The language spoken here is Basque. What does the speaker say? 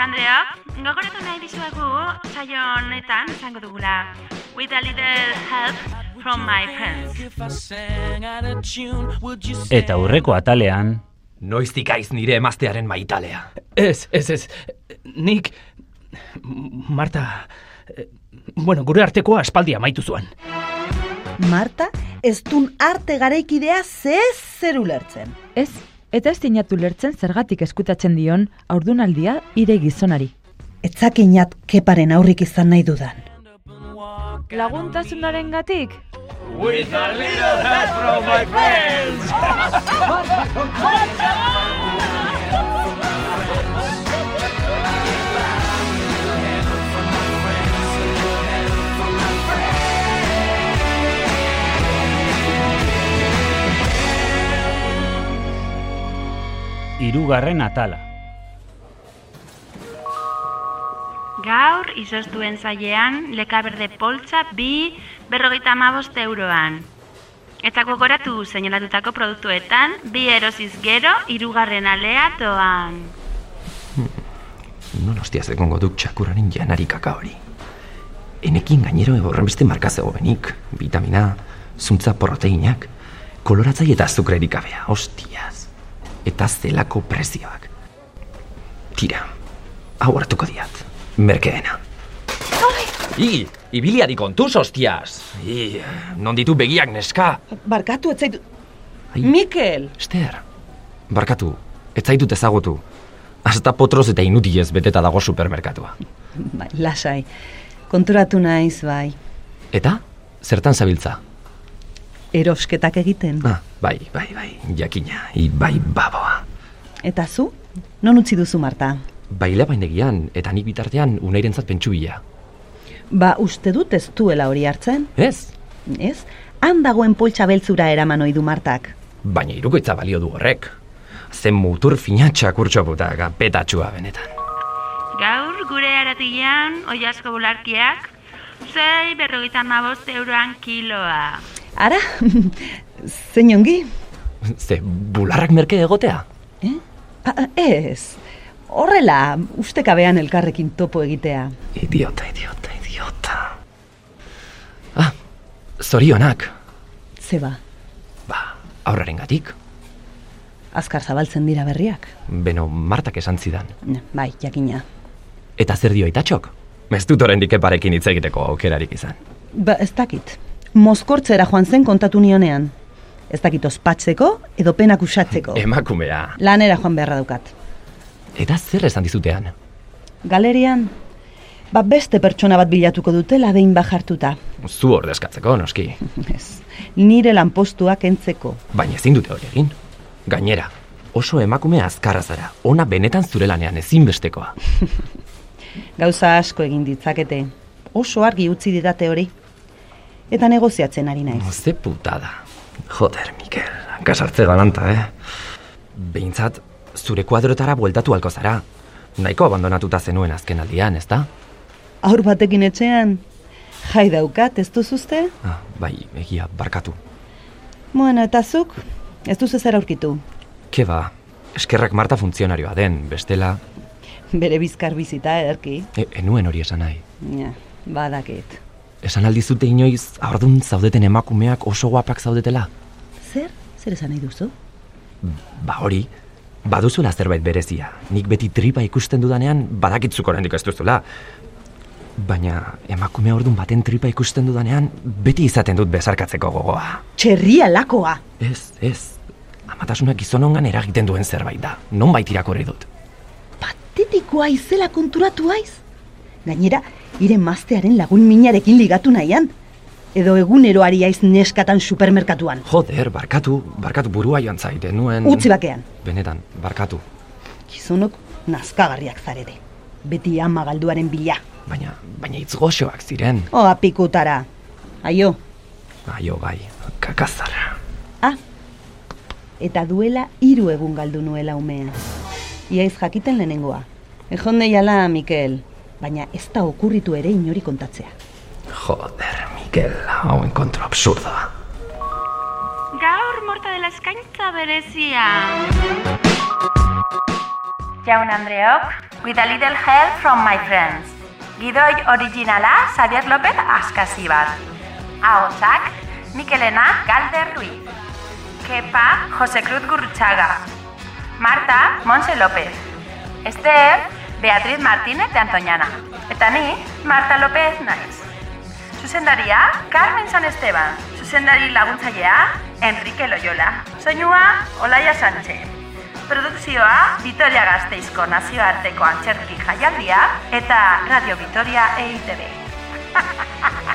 Andrea, gogoratu nahi dizuagu saio honetan esango dugula With a little help from my friends. Eta aurreko atalean, Noiztik aiz nire emaztearen maitalea. Ez, ez, ez. Nik... Marta... eh, Bueno, gure artekoa aspaldi amaitu zuen. Marta, ez dun arte garaikidea ze zer ulertzen. Ez, eta ez dinatu lertzen zergatik eskutatzen dion aurdunaldia ire gizonari. Etzakinat keparen aurrik izan nahi dudan. Laguntasunaren gatik? hirugarren atala. Gaur izoztuen zailean lekaberde poltsa bi berrogeita amabost euroan. Eta gogoratu seinalatutako produktuetan bi erosiz gero hirugarren alea doan. Non ostiaz egongo duk txakuraren janari kaka hori. Enekin gainero horrenbeste marka zegoenik. Vitamina, zuntza proteinak, koloratzai eta azukrerik gabea, ostiaz. Eta zelako prezioak. Tira, hau hartuko diat, merkeena. I, ibiliari kontuz, ostiaz! I, non ditu begiak neska! Barkatu ez zaitu... Ai. Mikel! Ester, barkatu, ez zaitut ezagutu. Hasta potroz eta inutilez beteta dago supermerkatua. Bai, lasai. Konturatu naiz, bai. Eta? Zertan zabiltza? Erosketak egiten. Ah, bai, bai, bai, jakina, i, bai baboa. Eta zu? Non utzi duzu, Marta? Baila bainegian, eta nik bitartean unairentzat pentsu bila. Ba, uste dut ez duela hori hartzen, Ez? ez? Han dagoen poltsa beltzura eraman ohi du Martak. Baina irukoitza balio du horrek. Zen mutur finatxa kurtsoputa gapetatxua benetan. Gaur gure aratilan oiasko bularkiak zei berrogeita amabost euroan kiloa. Ara, zein ongi? Ze, bularrak merke egotea? Eh? Ba, ez, horrela, ustekabean elkarrekin topo egitea. Idiota, idiota, idiota. Ah, zorionak. Zeba, Ba, aurrarengatik. azkar zabaltzen dira berriak. Beno, Martak esan zidan. Bai, jakina. Eta zer dio itatxok? Ez dut oraindik eparekin hitz egiteko aukerarik izan. Ba, ez dakit. Mozkortzera joan zen kontatu nionean. Ez dakit ospatzeko edo penak usatzeko. Emakumea. Lanera joan beharra daukat. Eta zer esan dizutean? Galerian, ba beste pertsona bat bilatuko dutela behin bajartuta. Zu ordezkatzeko, noski. Ez, nire lanpostua kentzeko. Baina ezin dute hori egin. Gainera, oso emakume azkarra zara. Ona benetan zure lanean ezinbestekoa. Gauza asko egin ditzakete. Oso argi utzi didate hori. Eta negoziatzen ari naiz. Ze putada. Joder, Mikel, hankasartze galanta, eh? Behintzat, zure kuadrotara bueltatu halko zara. Nahiko abandonatuta zenuen azken aldian, ez da? Aur batekin etxean, jai daukat, ez duzuzte? Ah, bai, egia, barkatu. Bueno, eta zuk, ez duz ezer aurkitu. Ke ba, eskerrak Marta funtzionarioa den, bestela, Bere bizkar bizita, erki. e, enuen hori esan nahi. Ja, badakit. Esan aldizute inoiz, aurdun zaudeten emakumeak oso guapak zaudetela. Zer? Zer esan nahi duzu? Ba hori, baduzula zerbait berezia. Nik beti tripa ikusten dudanean, badakitzuk oraindik ez duzula. Baina emakume ordun baten tripa ikusten dudanean, beti izaten dut besarkatzeko gogoa. Txerria lakoa! Ez, ez. Amatasunak gizonongan eragiten duen zerbait da. Nonbait irakorri dut. Patetikoa izela konturatu aiz. Gainera, ire maztearen lagun minarekin ligatu nahian. Edo eguneroari aiz neskatan supermerkatuan. Joder, barkatu, barkatu burua joan zaite, nuen... Utzi bakean. Benetan, barkatu. Gizonok nazkagarriak zarete. Beti ama galduaren bila. Baina, baina hitz goxoak ziren. Oa pikutara. Aio. Aio bai, kakazarra. Ah, eta duela hiru egun galdu nuela umea. Iaiz jakiten lehenengoa. Ejon deiala, Mikel, baina ez da okurritu ere inori kontatzea. Joder, Mikel, hau enkontro absurdoa. Gaur morta dela eskaintza berezia. Jaun Andreok, with a little help from my friends. Gidoi originala Xavier López Askasibar. Ahotsak, Mikelena Galder Ruiz. Kepa Jose Cruz Gurruchaga. Marta Monse López. Esther Beatriz Martínez de Antoñana. Eta ni Marta López naiz. Zuzendaria, Carmen San Esteban. Zuzendari laguntzailea, Enrique Loyola. Soinua, Olaia Sánchez. Produkzioa, Vitoria Gasteizko nazioarteko antzerki jaialdia eta Radio Vitoria EITB.